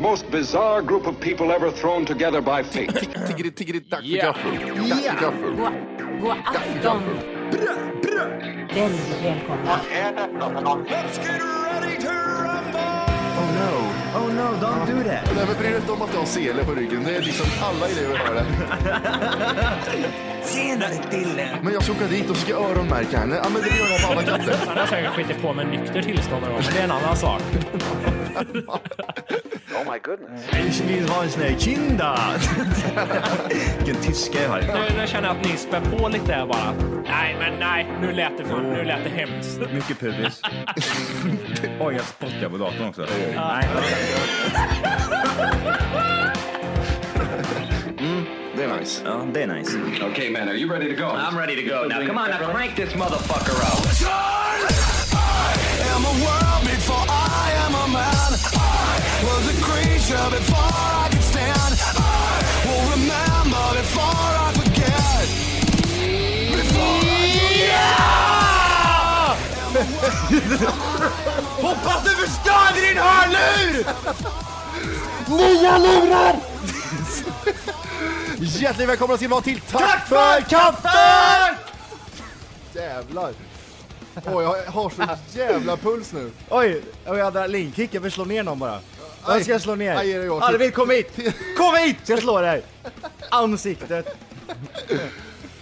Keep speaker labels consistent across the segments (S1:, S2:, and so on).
S1: most bizarre group of people ever thrown together by fate.
S2: Tiggeri, tiggeri, tack för
S3: Ja.
S2: gaffel. Tack för gaffel.
S4: God, god afton. Väldigt välkomna.
S5: Oh no, oh no, don't do that.
S2: Nej, men bry dig inte om att jag har sele på ryggen. Det är liksom alla elever har det.
S5: Senare Dille.
S2: Men jag ska åka dit och ska öronmärka henne. Ja, men det gör jag på alla katter.
S3: Han har säkert skitit på med nykter tillstånd någon gång, men det är en annan sak.
S5: Ich will ha en sån här kinda. Vilken tyska jag har.
S3: Nu, nu känner jag att ni spär på lite här bara. Nej, men nej, nu lät det, fan, nu lät det hemskt.
S6: Mycket pubis. Oj, jag spottar på datorn också.
S2: Det är nice.
S6: Ja, det är nice.
S1: okay, man, are you ready to go?
S7: I'm ready to go now. Come on, now crank this motherfucker up.
S5: Hoppas du förstörde din hörlur!
S2: Hjärtligt välkomna ska ni vara till Tack,
S5: kaffet!
S2: Jävlar. Åh, jag har så jävla puls nu.
S5: Oj, jag hade linkkick. Jag vill slå ner någon bara. Jag ska slå ner.
S2: Aj, är det jag?
S5: Arvid, kom hit! Kom hit! Jag slår dig. Ansiktet.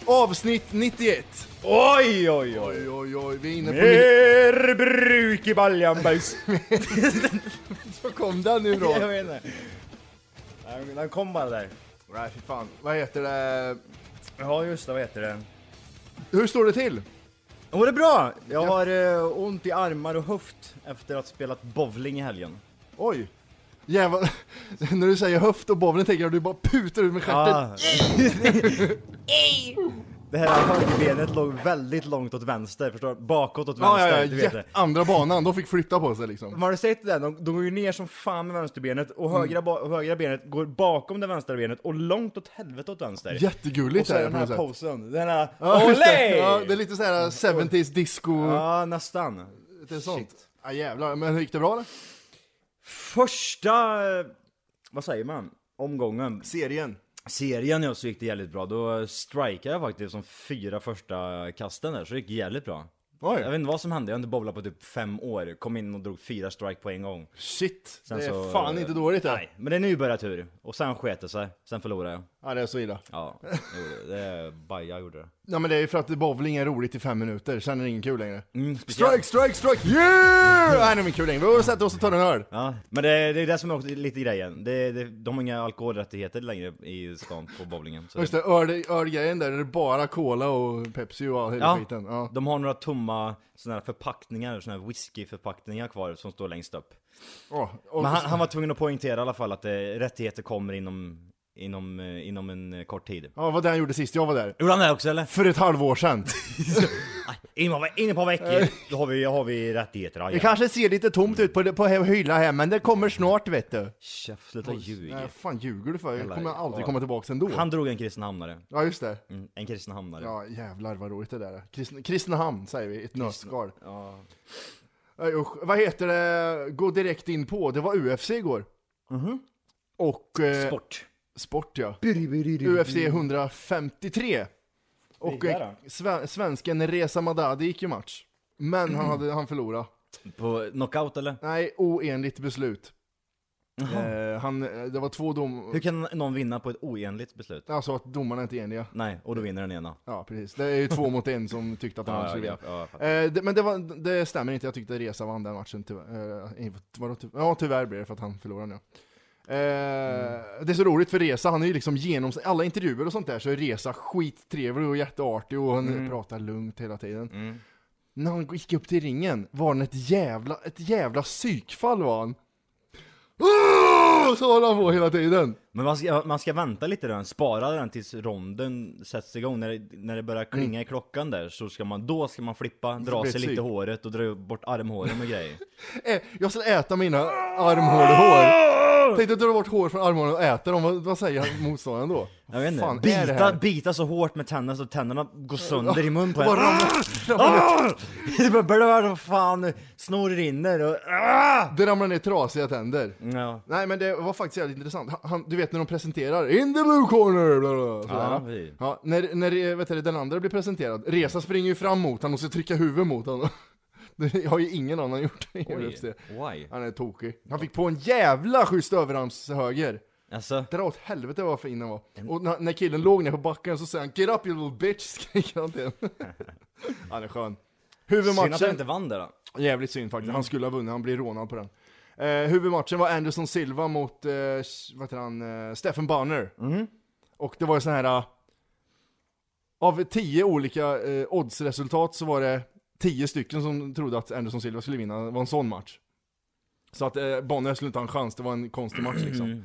S2: Avsnitt 91.
S5: Oj, oj, oj.
S2: Oj, oj, oj. Vi är inne på... Ny...
S5: Mer bruk i baljanbajs.
S2: Så kom den nu då.
S5: Jag vet inte. Nej, Den kom bara där.
S2: Nej, fy fan. Vad heter det?
S5: Ja, just det. Vad heter det?
S2: Hur står det till?
S5: Mår det bra? Jag har eh, ont i armar och höft efter att ha spelat bowling i helgen.
S2: Oj. Jävlar. När du säger höft och bowling tänker jag att du bara putar ut med stjärten.
S5: Ah. det här högerbenet låg väldigt långt åt vänster, förstår du? Bakåt åt
S2: Ja,
S5: vänster,
S2: ja, ja,
S5: du vet
S2: jätte-
S5: det.
S2: andra banan, de fick flytta på sig liksom.
S5: Men Har du sett det där? De, de går ju ner som fan med vänsterbenet och
S2: Mm.
S5: högra, ba- högra benet går bakom det vänstra benet och långt åt helvete åt vänster. och
S2: Jättegulligt
S5: så
S2: är
S5: är
S2: det
S5: den
S2: på
S5: här
S2: något sätt.
S5: posen, den här
S2: Ja, just det.
S5: Olé!
S2: Ja, det är lite såhär 70s disco,
S5: Ja, nästan.
S2: lite sånt. Ja jävlar, men gick det bra eller?
S5: Första, eh, vad säger man? Omgången.
S2: Serien.
S5: serien jag så gick det jävligt bra. Då strikade jag faktiskt de fyra första kasten där, så det gick jävligt bra.
S2: Oj.
S5: Jag vet inte vad som hände, jag har inte bowlat på typ fem år. Kom in och drog fyra strike på en gång.
S2: Shit,
S5: Sen
S2: det är
S5: så-
S2: fan inte dåligt det.
S5: Nej, men det är nybörjartur. Och sen sket det sig. Sen förlorade jag.
S2: Ja, det är så illa.
S5: Ja, jag gjorde det. det. är Baja gjorde det.
S2: Nej men det är ju för att bowling är roligt i fem minuter, sen är det ingen kul längre.
S5: Mm,
S2: Strike, strike, strike, yeah! Nej det är ingen kul längre, vi går och sätter oss och tar en öl.
S5: Ja, men det, det är det som är också lite grejen. Det, det, de har inga alkoholrättigheter längre i stan på bowlingen. Så
S2: Just det, öl- ölgrejen där, det är bara cola och Pepsi och all hela
S5: Ja,
S2: skiten. Ja.
S5: de har några tomma såna här förpackningar, såna här whiskyförpackningar kvar som står längst upp.
S2: Åh, och-
S5: Men han, han var tvungen att poängtera i alla fall att eh, rättigheter kommer inom, inom, eh, inom en eh, kort tid.
S2: ja, vad det han gjorde sist jag var där.
S5: Gjorde han det också eller?
S2: För ett halvår sedan.
S5: Inom, inom ett par
S2: Eh.
S5: veckor, då har vi, har vi rättigheter. Ja,
S2: Det kanske ser lite tomt ut på, det- på hyllan här, men det kommer snart vet du.
S5: Chef, sluta ljug.
S2: Nej, fan ljuger du för? Jag
S5: Eller-
S2: kommer aldrig
S5: ja.
S2: komma tillbaka ändå.
S5: Han drog en kristenhamnare.
S2: Ja, just det.
S5: Mm, en kristenhamnare.
S2: Ja, jävlar vad roligt det där är. Kristne, Kristinehamn säger vi, ett nötskal. Nej, usch. Vad heter det? Gå direkt in på. Det var UFC igår. Och... Eh,
S5: Mhm. Sport.
S2: Sport ja. UFC 153. Och
S5: Vilka
S2: eh, sve, svensken Reza Madadi gick ju match. Men han, hade, han förlorade.
S5: På knockout eller?
S2: Nej, oenligt beslut. Eh, han, det var två dom...
S5: Hur kan någon vinna på ett oenligt beslut?
S2: Alltså att domarna inte är eniga.
S5: Nej, och då vinner den ena.
S2: Ja, precis. Det är ju två mot en som tyckte att han
S5: Ja,
S2: skulle
S5: ja,
S2: vinna.
S5: ja, jag fattar.
S2: Eh, det, men det, var, det stämmer inte, jag tyckte Reza vann den matchen tyvärr. Eh, inte- vadå, ty, ja, tyvärr blir det för att han förlorade nu. Eh, Det är så roligt för Reza, han är ju liksom genom alla intervjuer och sånt där så är Reza skittrevlig och jätteartig och han pratar lugnt hela tiden. När han gick upp till ringen var han ett jävla, ett jävla psykfall var han. Åh! Så håller han på hela tiden.
S5: Men man ska, man ska vänta lite den, spara den tills ronden sätts igång. När det, när det börjar klinga
S2: Mm.
S5: i klockan där så ska man, då ska man flippa, dra
S2: blir
S5: sig
S2: det
S5: lite
S2: psyk.
S5: håret och dra bort armhålen och grejer.
S2: Eh, Jag ska äta mina armhålehår. Tänk dig att dra bort hår från armarna och äta dem, vad, vad säger motståndaren då?
S5: Jag vet inte,
S2: Fan, är det
S5: bita,
S2: här?
S5: bita så hårt med tänderna så tänderna går sönder i mun på en
S2: Bara ramlar- ramlar ner-
S5: Ah! Det bara blöder och fan, snor rinner och... Ah!
S2: Det ramlar ner trasiga tänder.
S5: Ja,
S2: Nej men det var faktiskt jävligt intressant. Han- Han, du vet när de presenterar In the blue corner! Bla bla, bla,
S5: Ja,
S2: sådär.
S5: vi-
S2: ja, när när eh, vet du, den andra blir presenterad, Resa springer ju fram mot honom och ska trycka huvudet mot honom. Det har ju ingen annan gjort i UFC.
S5: why?
S2: Han är tokig. Han fick på en jävla schysst överarmshöger.
S5: alltså...
S2: Dra åt helvete vad fin den var. Och när, när killen låg ner på backen så säger han 'Get up you little bitch' skriker han till henne. Han är skön.
S5: Synd att han
S2: Huvudmatchen,
S5: inte vann där då.
S2: jävligt synd faktiskt. Han skulle ha vunnit, han blir rånad på den. Eh, huvudmatchen var Anderson Silva mot, eh, vad heter han, eh, Stefan Bonner.
S5: Mhm.
S2: Och det var ju sån här, eh, av tio olika eh, oddsresultat så var det tio stycken som trodde att Anderson Silva skulle vinna, det var en sån match. Så att eh, Bonner skulle inte ha en chans, det var en konstig match liksom.
S5: Mm.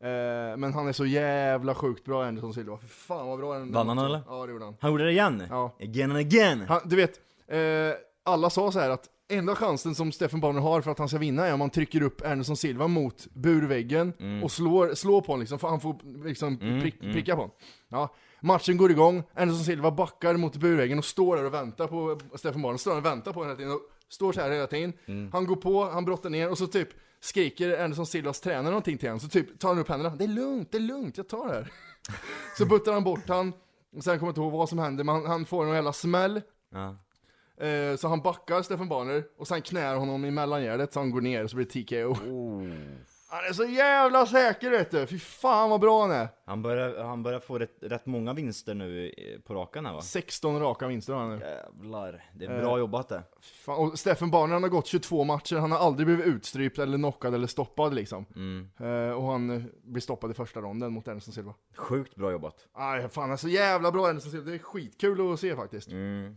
S2: Eh, men han är så jävla sjukt bra Anderson Silva, för fan vad bra den
S5: Vann han,
S2: matchen.
S5: eller?
S2: Ja det gjorde han.
S5: Han gjorde det igen?
S2: Ja.
S5: Again and again!
S2: han du vet, eh, alla sa så här att enda chansen som Stefan Bonner har för att han ska vinna är om han trycker upp Anderson Silva mot burväggen och slår, slår på honom liksom, för han får liksom prick, pricka på honom. Ja. Matchen går igång, Anderson Silva backar mot burväggen och står där och väntar på Stefan Bonner, står där och väntar på honom hela tiden och står så här hela tiden. Han går på, han brottar ner och så typ skriker Anderson Silvas tränare någonting till honom, så typ tar han upp händerna. Det är lugnt, det är lugnt, jag tar det här. så buttar han bort han. Sen kommer jag inte ihåg vad som händer, men han, han får en jävla smäll.
S5: Ja.
S2: Eh, så han backar Stefan Barner och sen knär honom i mellangärdet så han går ner och så blir det TKO. Han är så jävla säker vet du! Fy fan vad bra han är!
S5: Han börjar, han börjar få rätt, rätt många vinster nu eh, på rakan här va?
S2: 16 raka vinster har han nu.
S5: Jävlar, det
S2: Eh.
S5: är bra jobbat det.
S2: Fy Fan. Och Stefan Barner han har gått 22 matcher, han har aldrig blivit utstrypt eller knockad eller stoppad liksom. Eh, och han eh, blir stoppad i första ronden mot Anderson Silva.
S5: Sjukt bra jobbat.
S2: Aj, fan han är så jävla bra Anderson Silva, det är skitkul att se faktiskt.
S5: Mm.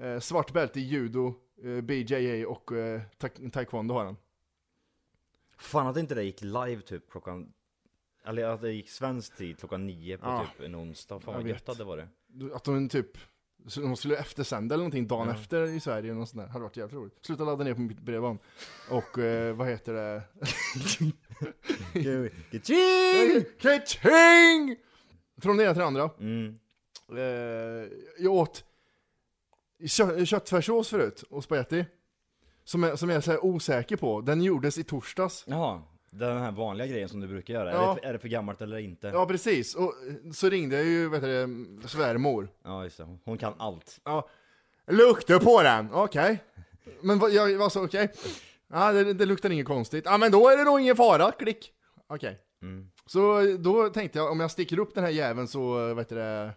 S2: Eh, svart bälte i judo, eh, BJJ och eh, ta- taekwondo har han.
S5: Fan att inte det gick live typ klockan... Eller att det gick svensk tid klockan nio på
S2: Ja.
S5: typ en onsdag. Fan
S2: Jag
S5: vad
S2: vet.
S5: gött det var det.
S2: Att de typ, så de skulle eftersända eller någonting dagen efter i Sverige eller något sånt där. Hade varit jävligt roligt. Sluta ladda ner på mitt bredband. Och eh, vad heter det?
S5: Ka-ching!
S2: Kaching! Från det ena till det andra.
S5: Mm.
S2: Eh, jag åt kö- köttfärssås förut och spagetti. Som jag, som jag är så här osäker på. Den gjordes i torsdags.
S5: Jaha, den här vanliga grejen som du brukar göra.
S2: Ja.
S5: Är, det, för- är det för gammalt eller inte?
S2: Ja precis, och eh, så ringde jag ju vet du, det, svärmor.
S5: Ja, just det. Hon- Hon kan allt.
S2: Ja. Lukta på den! Okej. Men vad, jag var så okej. Ja, det, det luktar inget konstigt. Ja, men då är det nog ingen fara. Klick. Okej. Så då tänkte jag, om jag sticker upp den här jäveln så, vet du det,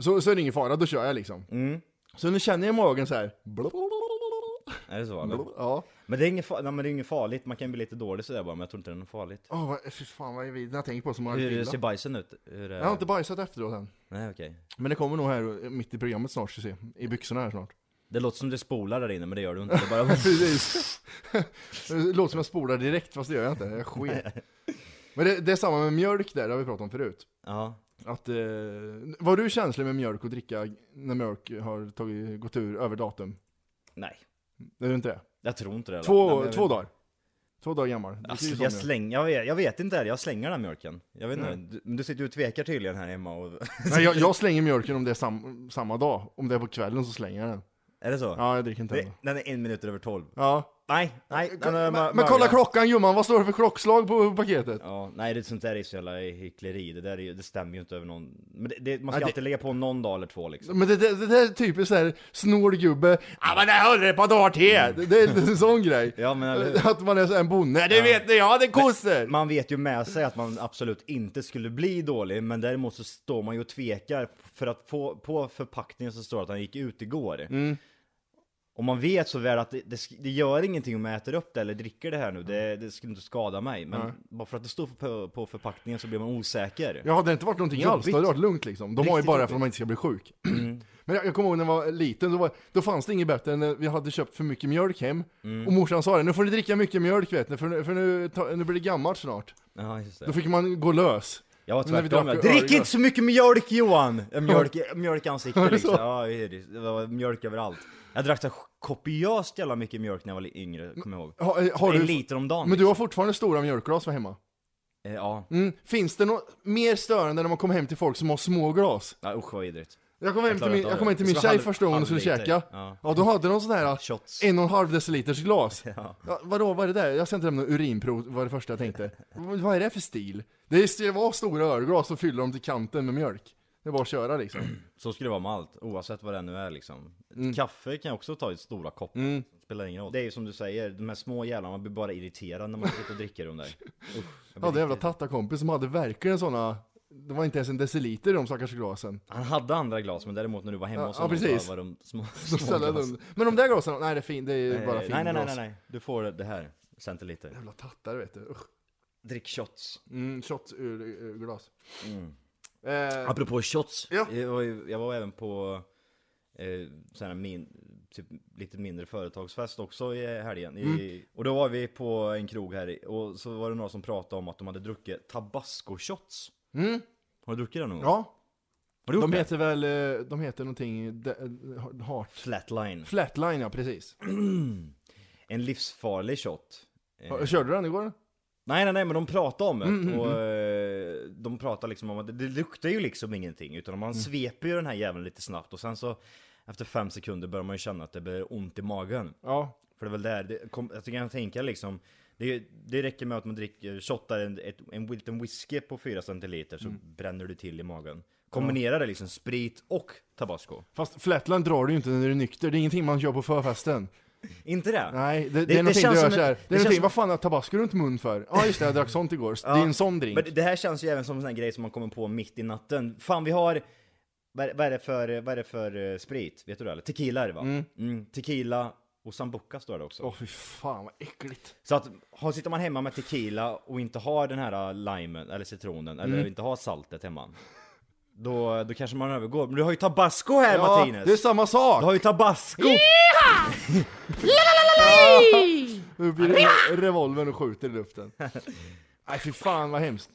S2: så, så är det ingen fara, då kör jag liksom.
S5: Mm.
S2: Så nu känner jag i magen så här.
S5: Är det så eller?
S2: Ja.
S5: Men det är inget, fa- nej, men det är inget farligt, man kan bli lite dålig sådär bara, men jag tror inte det är något farligt.
S2: Åh, vad, fy fan vad är vid när jag tänker på som har
S5: Hur
S2: illa.
S5: ser bajsen ut? Hur är...
S2: Jag har inte bajsat efteråt än.
S5: Nej okej.
S2: Men det kommer nog här eh, mitt i programmet snart, ska se. I byxorna här snart.
S5: Det låter som du spolar där inne, men det gör du inte. Det bara...
S2: Precis. Det låter som jag spolar direkt fast det gör jag inte, jag sker. Men det, det är samma med mjölk där, det har vi pratat om förut.
S5: ja.
S2: Att, eh, var du känslig med mjölk och dricka när mjölk har tagit, gått ur över datum?
S5: Nej.
S2: Är du inte det?
S5: Jag tror inte det. va? Nej, men
S2: Två,
S5: jag
S2: två
S5: vet-
S2: dagar. Två dagar gammal. Det är
S5: Alltså,
S2: ju
S5: jag,
S2: sån mjölk.
S5: slänger, jag, vet, jag vet inte, här, jag slänger den här mjölken. Jag vet inte, du, men du sitter ju och tvekar tydligen här hemma och...
S2: Nej, jag, jag slänger mjölken om det är sam, samma dag. Om det är på kvällen så slänger jag den.
S5: är det så?
S2: Ja, jag dricker inte den.
S5: Det, den är en minut över tolv.
S2: Ja.
S5: Nej, nej. den är
S2: Men,
S5: mör-
S2: men kolla
S5: mörda.
S2: klockan gumman, vad står det för klockslag på paketet?
S5: Ja, nej det sånt där är så jävla hyckleri, det där är ju, det stämmer ju inte över någon... Men det, det, man ska
S2: Nej, det-
S5: alltid lägga på någon dag eller två liksom.
S2: Men det, det, det där är typiskt såhär snålgubbe, ja men det håller ett par dagar till! Det, det är en sån grej.
S5: Mm. Ja, men eller hur?
S2: Att man är så här en bonde, "Nej, det vet ni, jag hade kossor!
S5: Man vet ju med sig att man absolut inte skulle bli dålig, men däremot så står man ju och tvekar för att på, på förpackningen så står det att han gick ut igår.
S2: Mm.
S5: Och man vet så väl att det, det, sk- det gör ingenting om jag äter upp det eller dricker det här nu, det, det skulle inte skada mig. Men bara för att det står på, på förpackningen så blir man osäker.
S2: Ja, det hade inte varit någonting alls, det hade varit lugnt liksom. De har ju
S5: Riktigt
S2: bara det
S5: jobbigt. Mm.
S2: för att man inte ska bli sjuk. Men jag, jag kommer ihåg när jag var liten, då, var, då fanns det inget bättre än när vi hade köpt för mycket mjölk hem.
S5: Mm.
S2: Och morsan sa det, nu får ni dricka mycket mjölk vet ni, för, nu- för nu, ta, nu blir det gammalt snart.
S5: Ja, just det.
S2: Då fick man gå lös.
S5: Jag var
S2: Men när vi
S5: tvärtom,
S2: drack
S5: jag
S2: öl-
S5: drick inte så mycket mjölk Johan! Äh, Mjölk, mjölkansikte
S2: det
S5: liksom,
S2: så?
S5: ja, det är det. det var mjölk överallt Jag drack så kopiöst jävla mycket mjölk när jag var li- yngre, kommer jag ihåg
S2: Ha, eh, har
S5: En
S2: du,
S5: liter om dagen
S2: men du har fortfarande stora mjölkglas för hemma?
S5: Eh, ja.
S2: Mm. Finns det något mer störande när man kommer hem till folk som har små glas?
S5: ja, usch vad vidrigt.
S2: Jag kom hem till
S5: Jag klarar
S2: min,
S5: inte av
S2: jag kom hem
S5: det.
S2: till min
S5: Det ska vara
S2: tjej
S5: halv-
S2: första gången hon skulle
S5: halvliter.
S2: käka. Ja.
S5: Ja.
S2: då hade de sån här
S5: Shots.
S2: en och en halv deciliters glas. Ja. vadå, vad är det där? Jag ska inte lämna urinprov, var det första jag tänkte. vad vad är det för stil? Det ska vara stora ölglas och fyller dem till kanten med mjölk. Det är bara att köra liksom.
S5: Så skulle det vara med allt, oavsett vad det nu är liksom.
S2: Mm.
S5: Kaffe kan jag också ta i stora koppar. Spelar ingen roll. Det är ju som du säger, de här små jävlarna, man blir bara irriterad när man sitter och dricker dem där. Usch, jag blir
S2: Jag hade en jävla
S5: riktigt-
S2: tattakompis som hade verkligen såna, det var inte ens en deciliter i de stackars glasen.
S5: Han hade andra glas, men däremot när du var hemma
S2: Ja,
S5: hos
S2: ja,
S5: honom
S2: precis.
S5: så var de små,
S2: Så
S5: små
S2: ställde jag
S5: glas.
S2: den- Men de där glasen, nej det är fin, det är
S5: Eh,
S2: bara finglas.
S5: nej, nej, nej, nej, nej. Du får det här, centiliter.
S2: Jävla tattare vet du, usch.
S5: Drick shots.
S2: Mm, shots ur, ur glas.
S5: Mm.
S2: Eh,
S5: Apropå shots,
S2: Ja.
S5: jag, var ju, jag var även på eh, sån här min, typ, lite mindre företagsfest också i helgen.
S2: Mm.
S5: I, och då var vi på en krog här i- och så var det några som pratade om att de hade druckit tabasco-shots. Har du druckit det någon gång?
S2: Mm. ja,
S5: Har du gjort
S2: de
S5: det?
S2: heter väl, eh, de heter någonting, de, eh, heart.
S5: Flatline.
S2: Flatline ja, precis.
S5: En livsfarlig shot. Eh,
S2: Har- Körde du den igår?
S5: Nej nej nej men de pratar om det
S2: Mm,
S5: och eh, de pratar liksom om att det, det luktar ju liksom ingenting utan man
S2: Mm.
S5: sveper ju den här jäveln lite snabbt och sen så efter fem sekunder börjar man ju känna att det blir ont i magen.
S2: Ja.
S5: För det är väl där, det kom, jag kan tänka liksom det, det räcker med att man dricker, shottar en, ett, en Wilton whisky på 4 centiliter så bränner du till i magen. Kombinera det liksom sprit och tabasco.
S2: Fast flatline drar du ju inte när du är nykter, det är ingenting man gör på förfesten.
S5: Inte det?
S2: Nej, det, det,
S5: det
S2: är någonting
S5: känns
S2: du gör
S5: som en-
S2: såhär. Det är
S5: det känns
S2: någonting,
S5: som-
S2: vad fan har tabasco runt mun för? Ja just det, jag drack sånt igår. Det är en sån drink.
S5: Men det här känns ju även som en sån här grej som man kommer på mitt i natten. Fan vi har, vad är, vad är, det, för, vad är det för eh, sprit? Vet du det eller? Tequila är det va? Mm. tequila och sambuca står det också.
S2: Åh fy fan vad äckligt.
S5: Så att har, sitter man hemma med tequila och inte har den här äh, limen eller citronen
S2: Mm.
S5: eller inte har saltet hemma. Då, då kanske man övergår. Men du har ju tabasco här
S2: Ja,
S5: Martinez!
S2: det är samma sak!
S5: Du har ju tabasco!
S2: Upp i re- revolvern och skjuter i luften.
S5: Mm.
S2: Nej fy fan vad hemskt.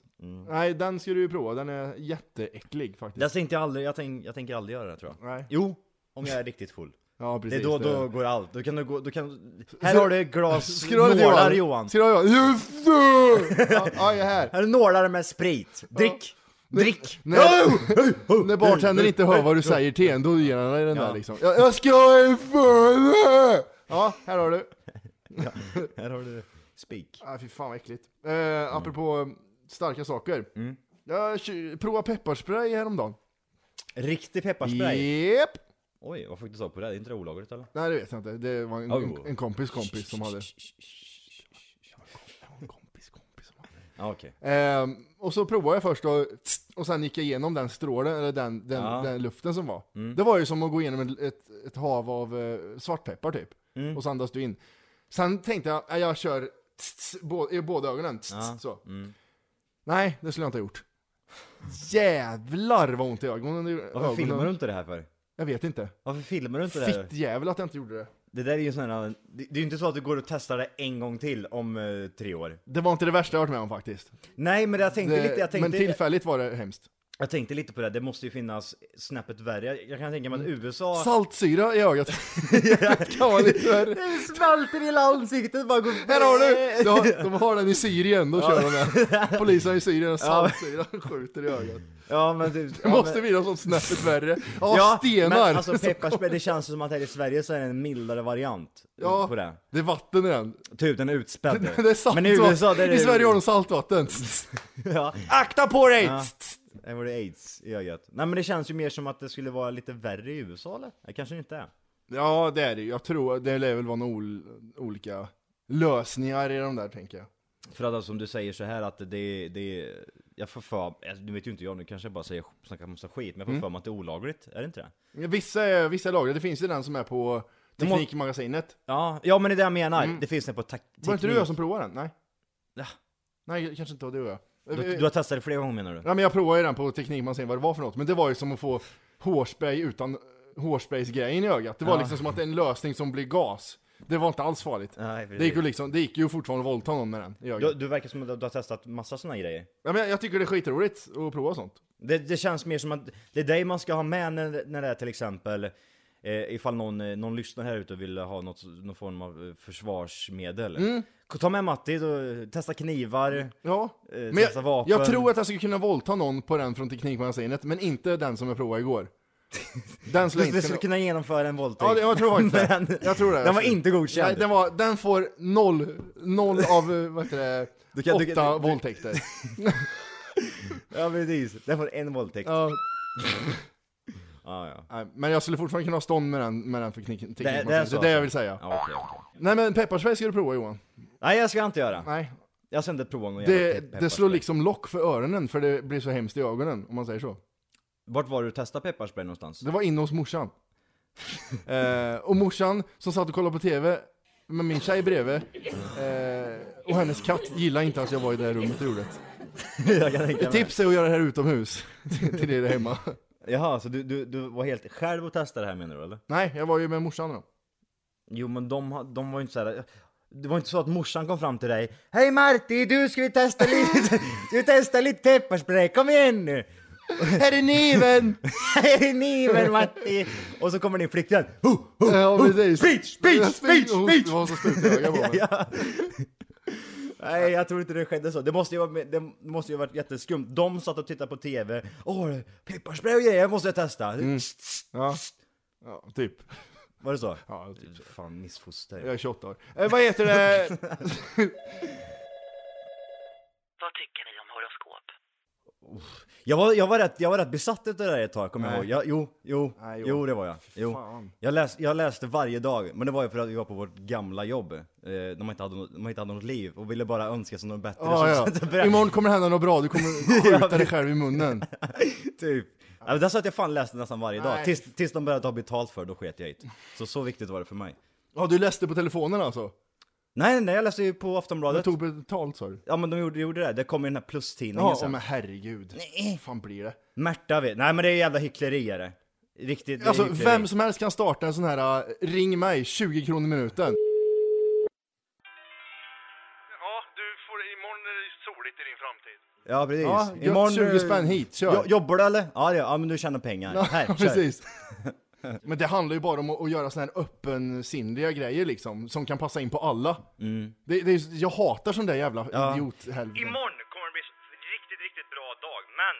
S2: Nej den ska du ju prova, den är jätteäcklig faktiskt.
S5: Jag, tänkte jag, aldrig, jag, tänk, jag tänker aldrig göra det tror jag.
S2: Nej.
S5: Jo, om jag är riktigt full.
S2: Ja
S5: Det
S2: precis.
S5: är då,
S2: det.
S5: då går allt. Då kan du gå, då kan... Här
S2: Så-
S5: har du ett glas
S2: Ska du ha det Johan?
S5: nålar Johan.
S2: Ska du ha det Johan? Just det! Ja, ja, jag är här.
S5: Här är nålar med sprit. Drick! Drick!
S2: När, när bartendern inte hör vad du säger till en, då ger han dig den
S5: Ja.
S2: där liksom. Jag, jag ska ha en före! Ja, här har du.
S5: Här har du spik.
S2: Ah, fy fan vad äckligt. Eh, apropå eh, starka saker. Jag kö- provade pepparspray häromdagen.
S5: Riktig pepparspray.
S2: Yep.
S5: Oj, vad fick du tag på det? här? Är inte det olagligt eller?
S2: Nej det vet jag inte, det var en,
S5: Oh.
S2: en kompis kompis som hade.
S5: Ja, okej.
S2: Ehm, och så provade jag först och, och sen gick jag igenom den strålen, eller den, den,
S5: Ja. Mm.
S2: den luften som var. Det var ju som att gå igenom ett, ett, ett hav av eh, svartpeppar typ.
S5: Mm.
S2: Och så andas du in. Sen tänkte jag, "Nej, jag kör tss, tss, bå- i båda ögonen. Tss, tss, så.
S5: Mm.
S2: Nej, det skulle jag inte ha gjort. Jävlar vad ont i ögonen.
S5: Varför
S2: ögonen.
S5: filmar du inte det här för?
S2: Jag vet inte.
S5: Varför filmar du inte det här?
S2: Fitt jävel att jag inte gjorde det.
S5: Det där är ju sån här... Det det är ju inte så att du går och testar det en gång till om eh, tre år.
S2: Det var inte det värsta jag varit med om faktiskt.
S5: Nej, men jag tänkte
S2: Det,
S5: lite... Jag tänkte,
S2: men tillfälligt var det hemskt.
S5: jag tänkte lite på det. här. Det måste ju finnas snäppet värre. Jag, jag kan tänka mig
S2: Mm.
S5: att USA...
S2: Saltsyra i ögat. det kan vara lite värre.
S5: Det smälter i hela ansiktet bara går...
S2: Här har
S5: Eh.
S2: du! De har, de har den i Syrien, då kör de den. Polisen i Syrien har saltsyra och skjuter i ögat.
S5: Ja men du...
S2: Det måste bli något sånt snäppet värre. Ja, stenar!
S5: Men alltså pepparspray, det känns som att här i Sverige så är det en mildare variant
S2: ja,
S5: på det.
S2: det är vatten i den.
S5: Typ den är utspädd.
S2: Det är salt,
S5: men i USA det är det...
S2: I Sverige har de saltvatten.
S5: ja,
S2: Akta på dig!
S5: Ja. där var det aids i ögat. Nej men det känns ju mer som att det skulle vara lite värre i USA eller? Det kanske det inte är.
S2: Ja, det är det ju. Jag tror det lär väl vara några ol- olika lösningar i de där, tänker jag.
S5: För att alltså, som du säger så här att det, det jag får för alltså, nu vet ju inte jag, nu kanske jag bara säger, snackar massa skit, men jag får
S2: Mm.
S5: för mig att det är olagligt, är det inte det?
S2: Vissa, är- vissa är lagrade, det finns ju den som är på
S5: må-
S2: Teknikmagasinet.
S5: Ja, ja men det är det jag menar, det finns det på tak-
S2: Mm. Var det inte du och jag som provade den? Nej.
S5: Ja.
S2: Nej, kanske inte var du och jag. Eh,
S5: du, du har testat det flera gånger menar du?
S2: Nej men jag provade ju den på Teknikmagasinet vad det var för något, men det var ju som att få hårspray utan hårspraysgrejen i ögat. Det var
S5: Ja.
S2: liksom som att en lösning som blir gas. Det var inte alls farligt.
S5: Nej,
S2: det, gick ju liksom, det gick ju fortfarande att våldta någon med den i
S5: Du,
S2: ögat.
S5: du verkar som att du har testat massa såna grejer.
S2: Ja, men jag, jag tycker det är skitroligt att prova sånt.
S5: Det, det känns mer som att det är dig man ska ha med när, när det är till exempel eh, eh, ifall någon, eh, någon lyssnar här ute och vill ha något, någon form av eh, försvarsmedel.
S2: Mm.
S5: Ta med Matti, då, testa knivar.
S2: Ja,
S5: Eh,
S2: men
S5: testa
S2: jag,
S5: vapen.
S2: jag tror att jag skulle kunna våldta någon på den från Teknikmagasinet, men inte den som jag provade igår. Den skulle jag
S5: Vi
S2: inte
S5: skulle
S2: kunna...
S5: kunna genomföra en våldtäkt.
S2: Ja, det- jag tror faktiskt det.
S5: Men-
S2: Jag tror det. alltså.
S5: Den var inte godkänd.
S2: Nej, den, var, den får noll, noll av, eh, vad heter det,
S5: Du kan- du kan-
S2: åtta
S5: du- du-
S2: våldtäkter.
S5: Ja precis, den får en våldtäkt. Ja.
S2: Ja,
S5: Ja, ja.
S2: nej, men jag skulle fortfarande kunna ha stånd med den, med den för teknik,
S5: är
S2: Teknikmagasinet,
S5: så
S2: det är det
S5: alltså.
S2: jag vill säga.
S5: okej, okej.
S2: Nej men pepparspray ska du prova Johan.
S5: Nej jag ska inte göra.
S2: Nej,
S5: Jag ska inte prova någon jävla
S2: det,
S5: pe-
S2: det slår
S5: pepparspray.
S2: liksom lock för öronen för det blir så hemskt i ögonen, om man säger så.
S5: Vart var du och testade pepparspray någonstans?
S2: Det var inne hos morsan. eh, och morsan som satt och kollade på TV med min tjej bredvid eh, och hennes katt gillade inte att jag var i det här rummet och gjorde det.
S5: jag kan tänka
S2: Ett
S5: mig.
S2: tips är att göra det här utomhus till er där hemma.
S5: Jaha, så du, du, du var helt själv och testade det här menar du eller?
S2: Nej, jag var ju med morsan då.
S5: Jo men de, ha- de var ju inte så här. Det var inte så att morsan kom fram till dig Hej Marti, du ska vi testa lite, du testa lite pepparspray, kom igen nu!
S2: Här är kniven!
S5: Här är kniven Marti! Och så kommer din flickvän "Huh, huh,
S2: ja,
S5: huh,
S2: precis.
S5: Speech, speech, speech,
S2: Hon-
S5: speech!
S2: Hon har så sprutöga på mig.
S5: Ja. Nej, jag tror inte det skedde så. Det måste ju vara, det måste ju ha varit jätteskumt. De satt och tittade på TV. Åh, pepparspray och grejer måste jag testa.
S2: Ja. ja, typ.
S5: Var det så?
S2: Ja, typ.
S5: Fan, missfoster.
S2: Jag är 28 år. Eh, vad heter det?
S8: Vad tycker ni om horoskop?
S5: Jag var, jag var, rätt, jag var rätt besatt av det där ett tag, kommer jag
S2: Nej.
S5: ihåg. Jag, jo, jo,
S2: Nej,
S5: jo,
S2: jo.
S5: det var jag. Jo.
S2: fan.
S5: Jag, läs, jag läste varje dag, men det var ju för att vi var på vårt gamla jobb. Eh, när man inte, hade, något- man inte hade något liv och ville bara önska sig något bättre.
S2: Ah,
S5: Så- så började-
S2: ja. Imorgon kommer det hända något bra, du kommer skjuta dig själv i munnen.
S5: typ. Ja, men där satt jag fan och läste nästan varje dag.
S2: Nej.
S5: Tills, tills de började ta betalt för det, då sket jag i det. Så så viktigt var det för mig.
S2: Ja, du läste på telefonen alltså?
S5: Nej, nej, nej, jag läste ju på
S2: Jag
S5: Aftonbladet.
S2: tog betalt sa du?
S5: Ja men de gjorde, gjorde det, det kom ju den här plustidningen
S2: Ja,
S5: sen.
S2: men herregud. Nej. fan blir det?
S5: Märta vet, nej men det är jävla hyckleri är det. Riktigt det är
S2: Alltså,
S5: hyckleri.
S2: vem som helst kan starta en sån här äh, ring mig 20 kronor i minuten.
S9: Ja, du får, imorgon är det soligt i din framtid.
S5: Ja precis.
S2: Ja, gött, 20 spänn hit, kör.
S5: Jo, jobbar du eller? Ja, det gör jag. ja men du tjänar pengar. här, kör.
S2: precis. Men det handlar ju bara om att att göra såna här öppensinniga grejer liksom, som kan passa in på alla. Det, det är, jag hatar sån där jävla
S5: Ja.
S2: idiothelvete.
S9: Imorgon kommer det bli en riktigt, riktigt bra dag, men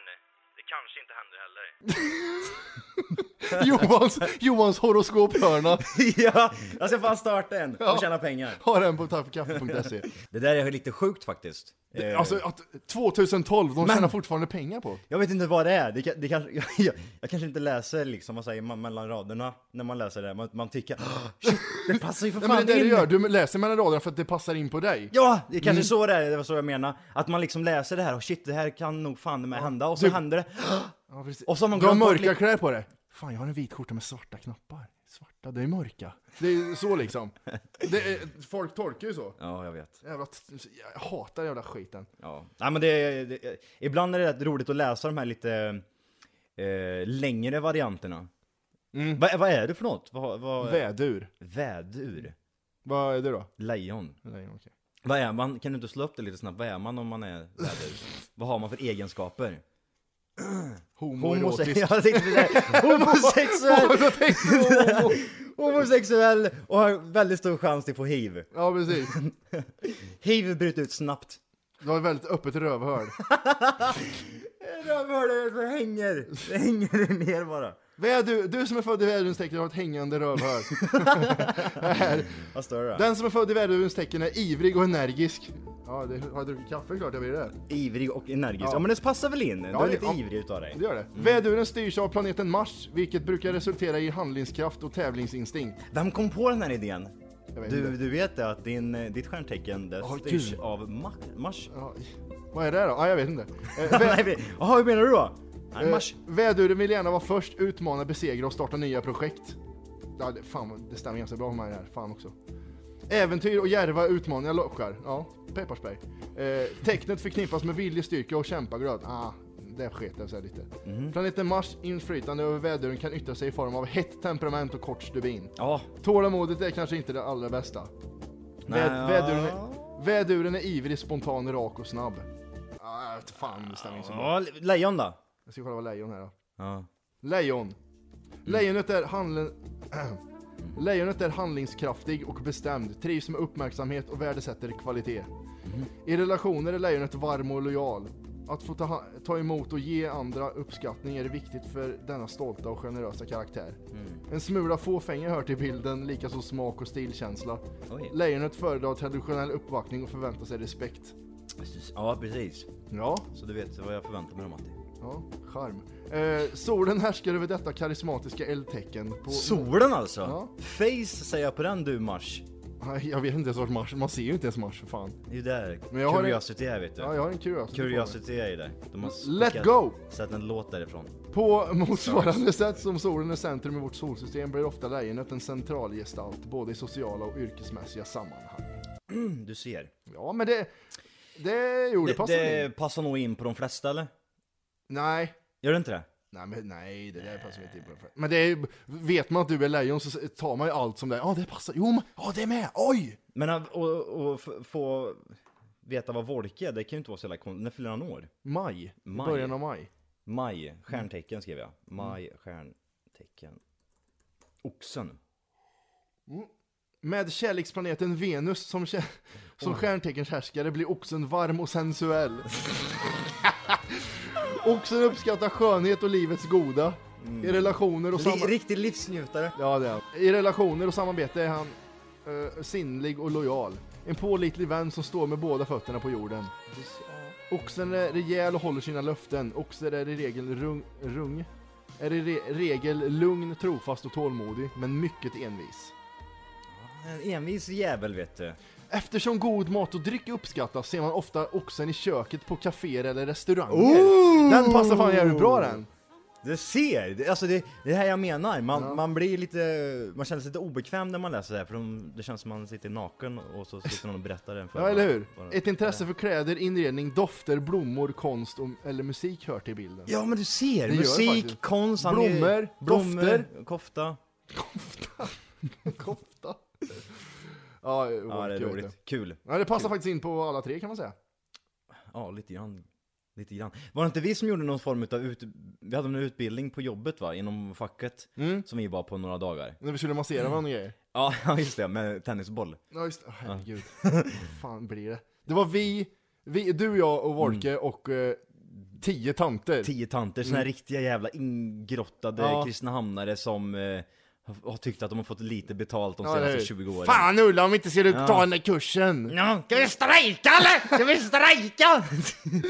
S9: det kanske inte händer heller.
S2: Johans, Johans horoskophörna.
S5: ja, jag ska fan starta en och
S2: Ja.
S5: tjäna pengar.
S2: Ha den på taffekaffe.se.
S5: Det där är lite sjukt faktiskt. Eh,
S2: Alltså att 2012, de tjänar fortfarande pengar på.
S5: Jag vet inte vad det är, det, kan- det kanske, jag, jag, jag kanske inte läser liksom, vad säger man, mellan raderna när man läser det, man, man tycker "Ah, shit, det passar ju för
S2: Nej,
S5: fan
S2: men det är det
S5: in!
S2: du gör, Mm. du läser mellan raderna för att det passar in på dig.
S5: Ja, det är kanske så det är, det var så jag menar. Att man liksom läser det här och shit, det här kan nog fan med hända, och så
S2: Du-
S5: händer det.
S2: Ja, precis.
S5: Och så har man
S2: du har
S5: glömt bort
S2: mörka
S5: li-
S2: kläder på dig. Fan, jag har en vit skjorta med svarta knappar. Svarta, det är mörka. Det är så liksom. Det är, folk tolkar ju så.
S5: Ja, jag vet.
S2: Jävla, t- jag hatar jävla skiten.
S5: Ja. Nej, men det, det, ibland är det rätt roligt att läsa de här lite eh, längre varianterna.
S2: Mm.
S5: Va, vad är det för något? Vad, vad,
S2: Vädur.
S5: vädur?
S2: Vad är det då?
S5: Lejon?
S2: Nej, okej.
S5: Vad är man? Kan du inte slå upp det lite snabbt? Vad är man om man är vädur? vad har man för egenskaper? Homose-
S2: Homoerotisk.
S5: Jag tänkte det där. Homosexuell!
S2: Då tänkte jag homo.
S5: Homosexuell och har väldigt stor chans till att få hiv.
S2: Ja, precis.
S5: Hiv bryter ut snabbt.
S2: Du har ett väldigt öppet rövhål.
S5: Rövhålet det hänger! Det hänger ner bara.
S2: Vädur, du som är född i vädurens tecken har ett hängande rövhål.
S5: Vad står det då?
S2: Den som är född i vädurens tecken är ivrig och energisk. Ja, det, har jag druckit kaffe klart jag blir det.
S5: Ivrig och energisk. Ja.
S2: Ja.
S5: men det passar väl in? du är
S2: det-
S5: lite
S2: ja.
S5: ivrig utav dig. Mm.
S2: Det gör det. Väduren styrs av planeten Mars, vilket brukar resultera i handlingskraft och tävlingsinstinkt.
S5: Vem kom på den här idén?
S2: Jag vet
S5: Du,
S2: inte.
S5: du vet det att din, eh, ditt stjärntecken det
S2: Åh,
S5: styrs
S2: gud.
S5: av Mars? Mars?
S2: Ja, vad är det då? Ja, jag vet inte. Eh, vä-
S5: Nej, vi- Jaha, hur menar du då? Nej,
S2: eh,
S5: Mars.
S2: väduren vill gärna vara först, utmana, besegra och starta nya projekt. Ja, det, fan, vad- det stämmer ganska bra med mig det här. Fan också. Äventyr och djärva utmaningar lockar. Ja, pepparspray. Eh, tecknet förknippas med viljestyrka och kämpaglöd. Ah, det sket jag sig lite.
S5: Mhm.
S2: Planeten Mars inflytande över väduren kan yttra sig i form av hett temperament och kort stubin.
S5: Ja.
S2: Tålamodet är kanske inte det allra bästa. Väd,
S5: Nej,
S2: väduren,
S5: ja.
S2: är, väduren är ivrig, spontan, rak och snabb. Ah, jag vet fan, det stämmer inte så bra.
S5: ja, lejon då?
S2: Jag ska kolla vad lejon här då.
S5: Ja.
S2: Lejon. Lejonet är handlen... Lejonet är handlingskraftig och bestämd, trivs med uppmärksamhet och värdesätter kvalitet. I relationer är lejonet varm och lojal. Att få ta, ha- ta emot och ge andra uppskattning är viktigt för denna stolta och generösa karaktär. En smula fåfänga hör till bilden, likaså smak och stilkänsla.
S5: Oj.
S2: Lejonet föredrar traditionell uppvaktning och förväntar sig respekt.
S5: Ja, precis.
S2: Ja,
S5: Så du vet vad jag förväntar mig av Matti.
S2: ja, charm. Eh, solen härskar över detta karismatiska eldtecken. På...
S5: Solen alltså!
S2: Ja.
S5: Face säger jag på den du Mars.
S2: Nej, Jag vet inte ens vart Mars, man ser ju inte ens Mars för fan.
S5: Det är ju där
S2: Men jag har en-
S5: Curiosity är vet du.
S2: Ja, jag har en curiosity. på mig.
S5: Curiosity är ju där. De har
S2: Let
S5: skickat-
S2: go!
S5: Satt en låt därifrån.
S2: På motsvarande sätt som solen är centrum i vårt solsystem blir ofta lejonet en central gestalt både i sociala och yrkesmässiga sammanhang.
S5: Du ser.
S2: Ja, men det... Det gjorde
S5: Det,
S2: passar in.
S5: det passar nog in på de flesta eller?
S2: Nej.
S5: Gör det inte det?
S2: Nej, men nej, det där passar inte in på det. Men det är, vet man att du är lejon så tar man ju allt som det är. Ja, det passar. Jo, men ja, det är med. Oj!
S5: Men att och, och f- få veta vad Wolke är, det kan ju inte vara så jävla konstigt. När fyller han år?
S2: Maj. I
S5: Maj.
S2: Början av maj.
S5: Maj, stjärntecken skrev jag. Maj, stjärntecken. Oxen.
S2: Med kärleksplaneten Venus som, kä- som stjärnteckens härskare blir oxen varm och sensuell. oxen uppskattar skönhet och livets goda. I relationer och
S5: Mm. Ri-
S2: samarbete...
S5: Riktig livsnjutare.
S2: Ja, det är han. I relationer och samarbete är han eh, sinnlig och lojal. En pålitlig vän som står med båda fötterna på jorden. Oxen är rejäl och håller sina löften. Oxen är i regel rung... rung är i re- regel lugn, trofast och tålmodig, men mycket envis.
S5: En envis jävel vet du.
S2: Eftersom god mat och dryck uppskattas ser man ofta oxen i köket på kaféer eller restauranger. Den passar fan jävligt bra den!
S5: Det ser! Det, alltså det, det är här jag menar. Man, man blir lite, man känner sig lite obekväm när man läser det här för de, det känns som man sitter naken och så sitter någon och berättar den för
S2: Ja, eller hur?
S5: Bara-
S2: Ett intresse för kläder, inredning, dofter, blommor, konst och, eller musik hör till bilden.
S5: Ja men du ser!
S2: Det gör det
S5: Musik,
S2: faktiskt.
S5: konst, han
S2: Blommor,
S5: är, blommor,
S2: dofter.
S5: kofta.
S2: Kofta. Ja,
S5: Ja det är
S2: vet
S5: roligt, kul.
S2: du. Ja, det passar faktiskt in på alla tre kan man säga.
S5: Ja, lite grann. Lite grann. Var det inte vi som gjorde någon form av ut... Vi hade en utbildning på jobbet va, inom facket,
S2: Mm.
S5: som vi var på några dagar.
S2: När vi skulle massera varandra och grejer.
S5: Ja, ja, just det, med tennisboll.
S2: Ja, just oh, herregud. Vad fan blir det? Det var vi, vi du, jag och Wolke och eh, tio tanter.
S5: Mm. Tio tanter, såna här riktiga jävla ingrottade
S2: Mm. Ja.
S5: kristinehamnare som eh, har- har tyckt att de har fått lite betalt de
S2: Ja, det är-
S5: senaste 20 åren.
S2: Fan Ulla, om inte ser ut ta den där kursen!
S5: Ja, ska vi strejka eller? Ska vi strejka?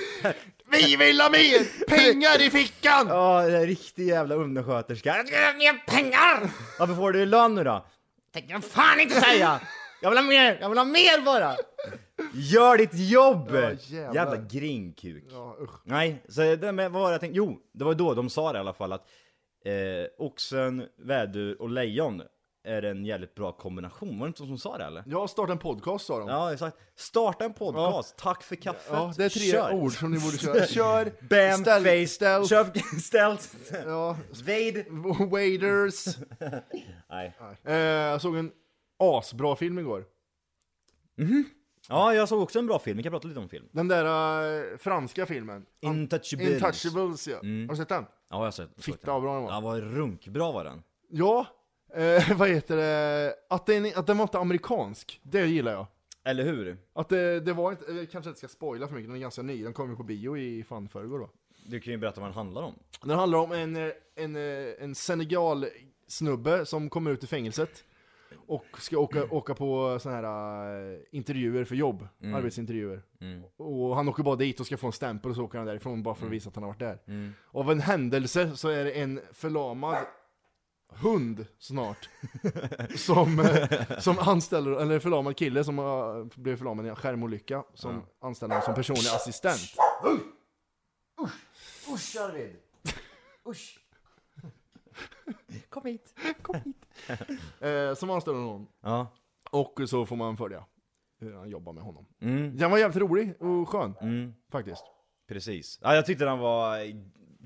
S2: Vi vill ha mer pengar i fickan!
S5: Ja, det är riktig jävla undersköterska. Jag vill ha mer pengar! Varför får du i lön nu då? Tänker jag fan inte säga! Jag vill ha mer, jag vill ha mer bara! Gör ditt jobb!
S2: Ja, jävlar.
S5: jävla grinkuk.
S2: Ja, usch.
S5: Nej, så det där med, vad var det jag tänkte? Jo, det var då de sa det i alla fall att eh, oxen, vädur och lejon är en jävligt bra kombination. Var det inte de som sa det eller?
S2: Jag har startat en podcast sa de. Ja,
S5: Ja, exakt. Starta en podcast, tack för kaffet,
S2: det är tre
S5: Kör.
S2: ord som ni borde köra. Kör,
S5: Bam,
S2: ställ-
S5: face,
S2: ställ-
S5: Köp, stealth,
S2: ja,
S5: vade.
S2: waiters.
S5: Nej.
S2: Eh, jag såg en asbra film igår.
S5: Ja, jag såg också en bra film, vi kan prata lite om film.
S2: Den där eh, franska filmen.
S5: Intouchables.
S2: Intouchables ja. Har du sett den?
S5: Ja, jag har sett. såg
S2: Fitta
S5: den.
S2: vad bra den var.
S5: Ja, vad runkbra var den.
S2: Ja, eh, vad heter det? Att den, att den var inte amerikansk, det gillar jag.
S5: Eller hur?
S2: Att det, det var inte, jag kanske inte ska spoila för mycket, den är ganska ny, den kom ju på bio i fan förrgår va?
S5: Du kan ju berätta vad den handlar om.
S2: Den handlar om en, eh, en, eh, en Senegal-snubbe som kommer ut ur fängelset och ska åka, åka på såna här eh, intervjuer för jobb, arbetsintervjuer. Och han åker bara dit och ska få en stämpel och så åker han därifrån bara för att visa att han har varit där. Av en händelse så är det en förlamad hund snart som, eh, som anställer, eller förlamad kille som har blivit förlamad i en skärmolycka som anställer honom som personlig assistent.
S5: Kom hit.
S2: Eh, som anställer honom.
S5: Ja.
S2: Och så får man följa hur han jobbar med honom.
S5: Mm.
S2: Den var jävligt rolig och skön, faktiskt.
S5: Precis. Ja, jag tyckte den var eh,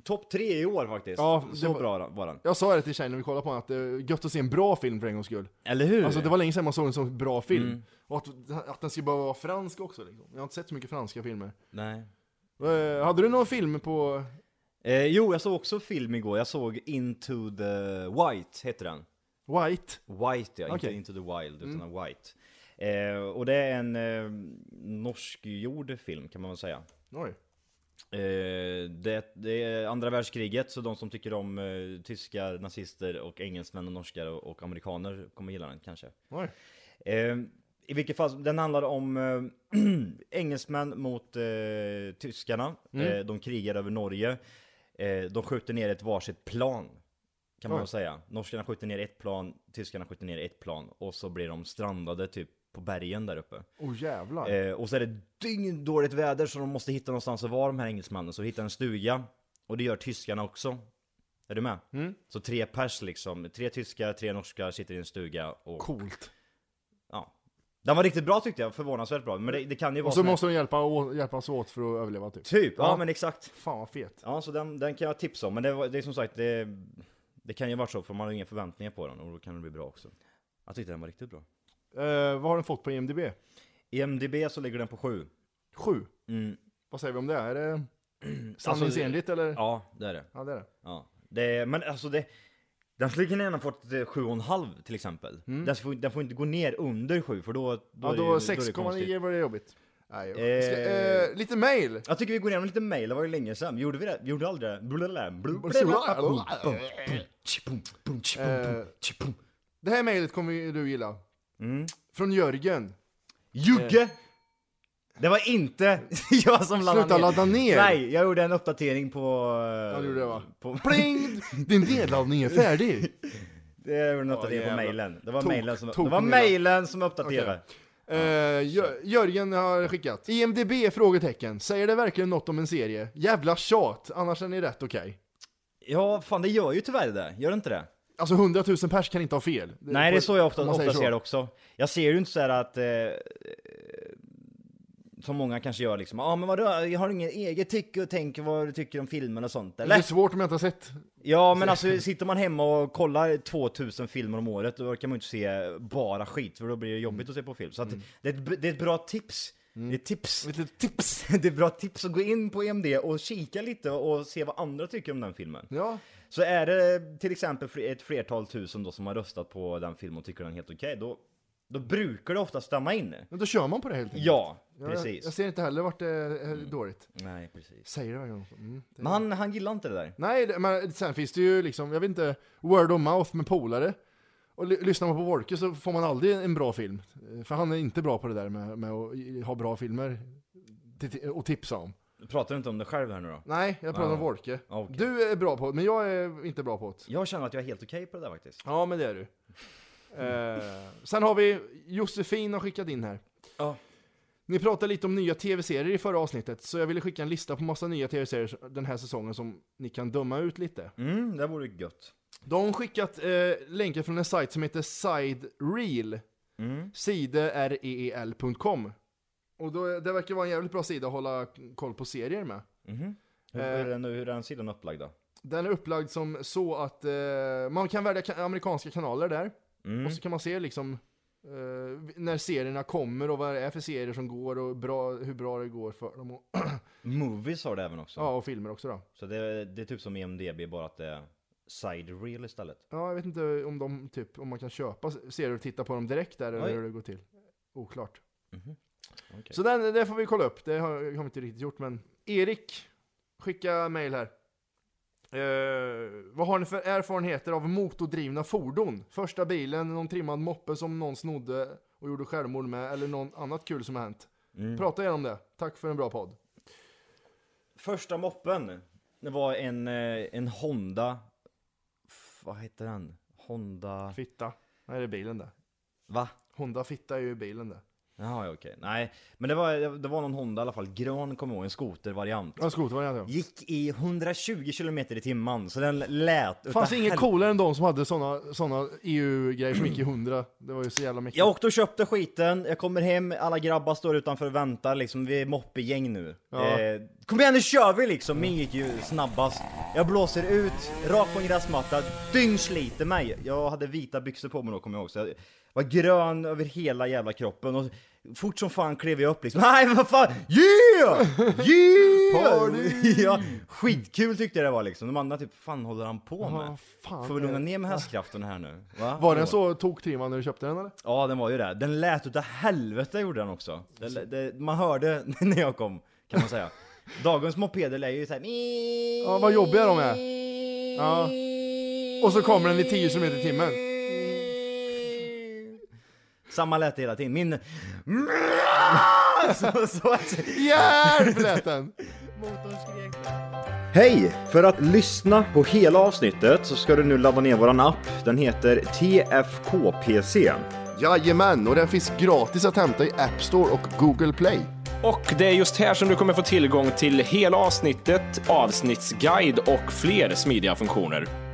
S5: topp tre i år faktiskt.
S2: Ja, det
S5: så
S2: var-
S5: bra var den.
S2: Jag sa det till tjejen när vi kollade på den, att det är gött att se en bra film för en gångs skull.
S5: Eller hur?
S2: Alltså det var länge sedan man såg en sån bra film. Och att, att den ska behöva vara fransk också liksom. Jag har inte sett så mycket franska filmer.
S5: Nej.
S2: Eh, hade du någon film på...
S5: Eh, jo, jag såg också film igår. Jag såg Into the White, heter den.
S2: White.
S5: White ja,
S2: Okej.
S5: inte Into the Wild utan White. Eh, och det är en eh, norskgjord film kan man väl säga.
S2: Oj.
S5: Eh, det, det är andra världskriget, så de som tycker om eh, tyskar, nazister och engelsmän och norskar och, och amerikaner kommer gilla den kanske.
S2: Oj.
S5: Eh, I vilket fall, den handlar om eh, engelsmän mot eh, tyskarna. Eh, de krigar över Norge. Eh, de skjuter ner ett varsitt plan. Kan man
S2: Oj.
S5: väl säga. Norskarna skjuter ner ett plan, tyskarna skjuter ner ett plan. Och så blir de strandade typ på bergen där uppe.
S2: Oh jävlar.
S5: Eh, och så är det dåligt väder så de måste hitta någonstans att vara de här engelsmännen. Så de hittar en stuga. Och det gör tyskarna också. Är du med? Så tre pers liksom. Tre tyskar, tre norskar sitter i en stuga och
S2: Coolt.
S5: Ja. Den var riktigt bra tyckte jag, förvånansvärt bra. Men det, det kan ju vara
S2: Och så
S5: som en-
S2: måste de hjälpa, å- hjälpas åt för att överleva typ.
S5: Typ, ja,
S2: Ja.
S5: men exakt.
S2: Fan vad fet.
S5: Ja, så den, den kan jag tipsa om. Men det, var, det är som sagt, det, det kan ju vara så för man har inga förväntningar på den och då kan den bli bra också. Jag tyckte den var riktigt bra.
S2: Eh, vad har den fått på IMDB?
S5: I MDB så ligger den på 7.
S2: Sju.
S5: Mm.
S2: Vad säger vi om det? Är Alltså, det sanningsenligt eller? Ja.
S5: Ja, det är det.
S2: det är det.
S5: Ja. det men alltså det... Den skulle kunna gärna fått eh, 7,5 till exempel. Den, får, den får inte gå ner under 7 för då... då
S2: Mm. Ja,
S5: är det ju-
S2: då
S5: är det konstigt.
S2: 6,9 var det jobbigt. Nej, jag
S5: Eh.
S2: ska, eh, lite mail!
S5: Jag tycker vi går igenom lite mail, det var ju länge sedan. Gjorde vi det? Vi gjorde aldrig det? Blablabla, blablabla, boom, boom, boom, boom,
S2: Eh.
S5: boom, boom.
S2: Det här mejlet kommer ju du gilla. Från Jörgen.
S5: Mm. Jugge! Det var inte jag som laddade
S2: Sluta ladda ner!
S5: Nej, jag gjorde en uppdatering på... Ja,
S2: du gjorde det, va?
S5: På,
S2: Pling! Din nedladdning är färdig!
S5: jag gjorde en uppdatering
S2: Åh,
S5: på
S2: jävlar.
S5: mailen. Det var
S2: Tok-
S5: mailen som,
S2: tok
S5: det var
S2: mina.
S5: mailen som uppdaterade.
S2: Eh, Jö- Jörgen har skickat. IMDB? frågetecken. Säger det verkligen något om en serie? Jävla tjat, annars är ni rätt okej.
S5: Ja, fan det gör ju tyvärr det där. Gör det inte det?
S2: Alltså 100 000 pers kan inte ha fel.
S5: Nej, det är så jag ofta,
S2: om man säger
S5: ofta
S2: så.
S5: ser det också. Jag ser ju inte så här att... Eh, eh, som många kanske gör liksom. Ja, ah, men vadå? Jag har ingen eget tycke och tänker vad du tycker om filmen och sånt,
S2: Det är
S5: eller?
S2: svårt om jag inte har sett.
S5: Ja, men alltså sitter man hemma och kollar 2000 filmer om året, då kan man ju inte se bara skit, för då blir det jobbigt att se på film. Så att,
S2: Mm.
S5: det, är ett, b- det är ett bra tips. Det är ett tips.
S2: Ett litet tips.
S5: Det är ett bra tips att gå in på EMD och kika lite och se vad andra tycker om den filmen.
S2: Ja,
S5: Så är det till exempel fl- ett flertal tusen då som har röstat på den filmen och tycker den är helt okej, då, då brukar det ofta stämma in.
S2: men då kör man på det helt enkelt.
S5: Ja,
S2: Ja, Jag,
S5: precis. Mm.
S2: jag ser inte heller vart det är dåligt.
S5: Nej, precis.
S2: Säger det verkligen något. Mm, det...
S5: Men han, han gillar inte det där.
S2: Nej, det, men sen finns det ju liksom, jag vet inte, word of mouth med polare. Och ly- lyssnar man på Wolke så får man aldrig en bra film. Eh, För han är inte bra på det där med, med att i- ha bra filmer till- och tipsa om.
S5: Pratar du inte om det själv här nu då?
S2: Nej, jag pratar
S5: Ah.
S2: om Wolke.
S5: Okej.
S2: Du är bra på det, men jag är inte bra på det.
S5: Jag känner att jag är helt okej på det där faktiskt.
S2: Ja, men det är du. Eh, sen har vi Josefin har skickat in här.
S5: Ja.
S2: Ni pratade lite om nya tv-serier i förra avsnittet, så jag ville skicka en lista på massa nya tv-serier den här säsongen som ni kan döma ut lite.
S5: Mm, det vore gött.
S2: De har skickat eh, länkar från en sajt som heter Sidereel.
S5: Mm.
S2: Sidereel.com. Och då, det verkar vara en jävligt bra sida att hålla koll på serier med.
S5: Mhm. Hur,
S2: Eh.
S5: hur, är den, hur är den sidan upplagd då?
S2: Den är upplagd som så att eh, man kan välja ka- amerikanska kanaler där.
S5: Mm.
S2: Och så kan man se liksom eh, när serierna kommer och vad det är för serier som går och bra, hur bra det går för dem. Och,
S5: Movies har det även också.
S2: ja, och filmer också då.
S5: Så det, det är typ som IMDB, bara att det är side reel istället.
S2: Ja, jag vet inte om de typ, om man kan köpa serier och titta på dem direkt där eller
S5: Oj.
S2: hur det går till. Oklart. Mhm.
S5: Okej.
S2: Så den, det får vi kolla upp. Det har har vi inte riktigt gjort, men Erik, skicka mail här. Eh, vad har ni för erfarenheter av motordrivna fordon? Första bilen, någon trimmad moppe som någon snodde och gjorde självmord med, eller någon annat kul som har hänt. Prata gärna om det. Tack för en bra podd.
S5: Första moppen, det var en, eh, en Honda... F- Vad heter den? Honda...
S2: Fitta. Nej, det är bilen det.
S5: Va?
S2: Honda Fitta är ju bilen det.
S5: Jaha, ja, okej. Nej, men det var, det var någon Honda i alla fall. Grön kommer jag ihåg, en skotervariant.
S2: Ja, skotervariant ja.
S5: Gick i 120 km i timmen, så den lät utav
S2: Fanns det inget
S5: hel-
S2: coolare än de som hade såna, såna EU-grejer som gick i 100? Det var ju så jävla mäktigt.
S5: Jag åkte och köpte skiten, jag kommer hem, alla grabbar står utanför och väntar liksom, vi är moppegäng nu.
S2: Ja.
S5: Eh, kom igen nu kör vi liksom! Min gick ju snabbast. Jag blåser ut, rakt på en gräsmatta, dyngsliter mig. Jag hade vita byxor på mig då kommer jag ihåg, så jag Var grön över hela jävla kroppen och fort som fan klev jag upp liksom. Nej vad fan! Yeah! Yeah!
S2: Party!
S5: ja, skitkul tyckte jag det var liksom. De andra typ, fan håller han på med?
S2: Ja, fan.
S5: Får vi lugna ner med hästkraften här nu? Va?
S2: Var den så toktrimmad när du köpte den eller?
S5: Ja den var ju det. Den lät utav helvete gjorde den också. Det, det, man hörde när jag kom kan man säga. Dagens mopeder lär ju såhär...
S2: Ja, vad jobbiga de är. Ja. Och så kommer den i 10 km i timmen.
S5: Samma lät det hela tiden. Min... så, så att...
S2: Hjälp lät den!
S5: Hej! För att lyssna på hela avsnittet så ska du nu ladda ner våran app. Den heter TFKPC.
S2: Jajamän, och den finns gratis att hämta i App Store och Google Play.
S3: Och det är just här som du kommer få tillgång till hela avsnittet, avsnittsguide och fler smidiga funktioner.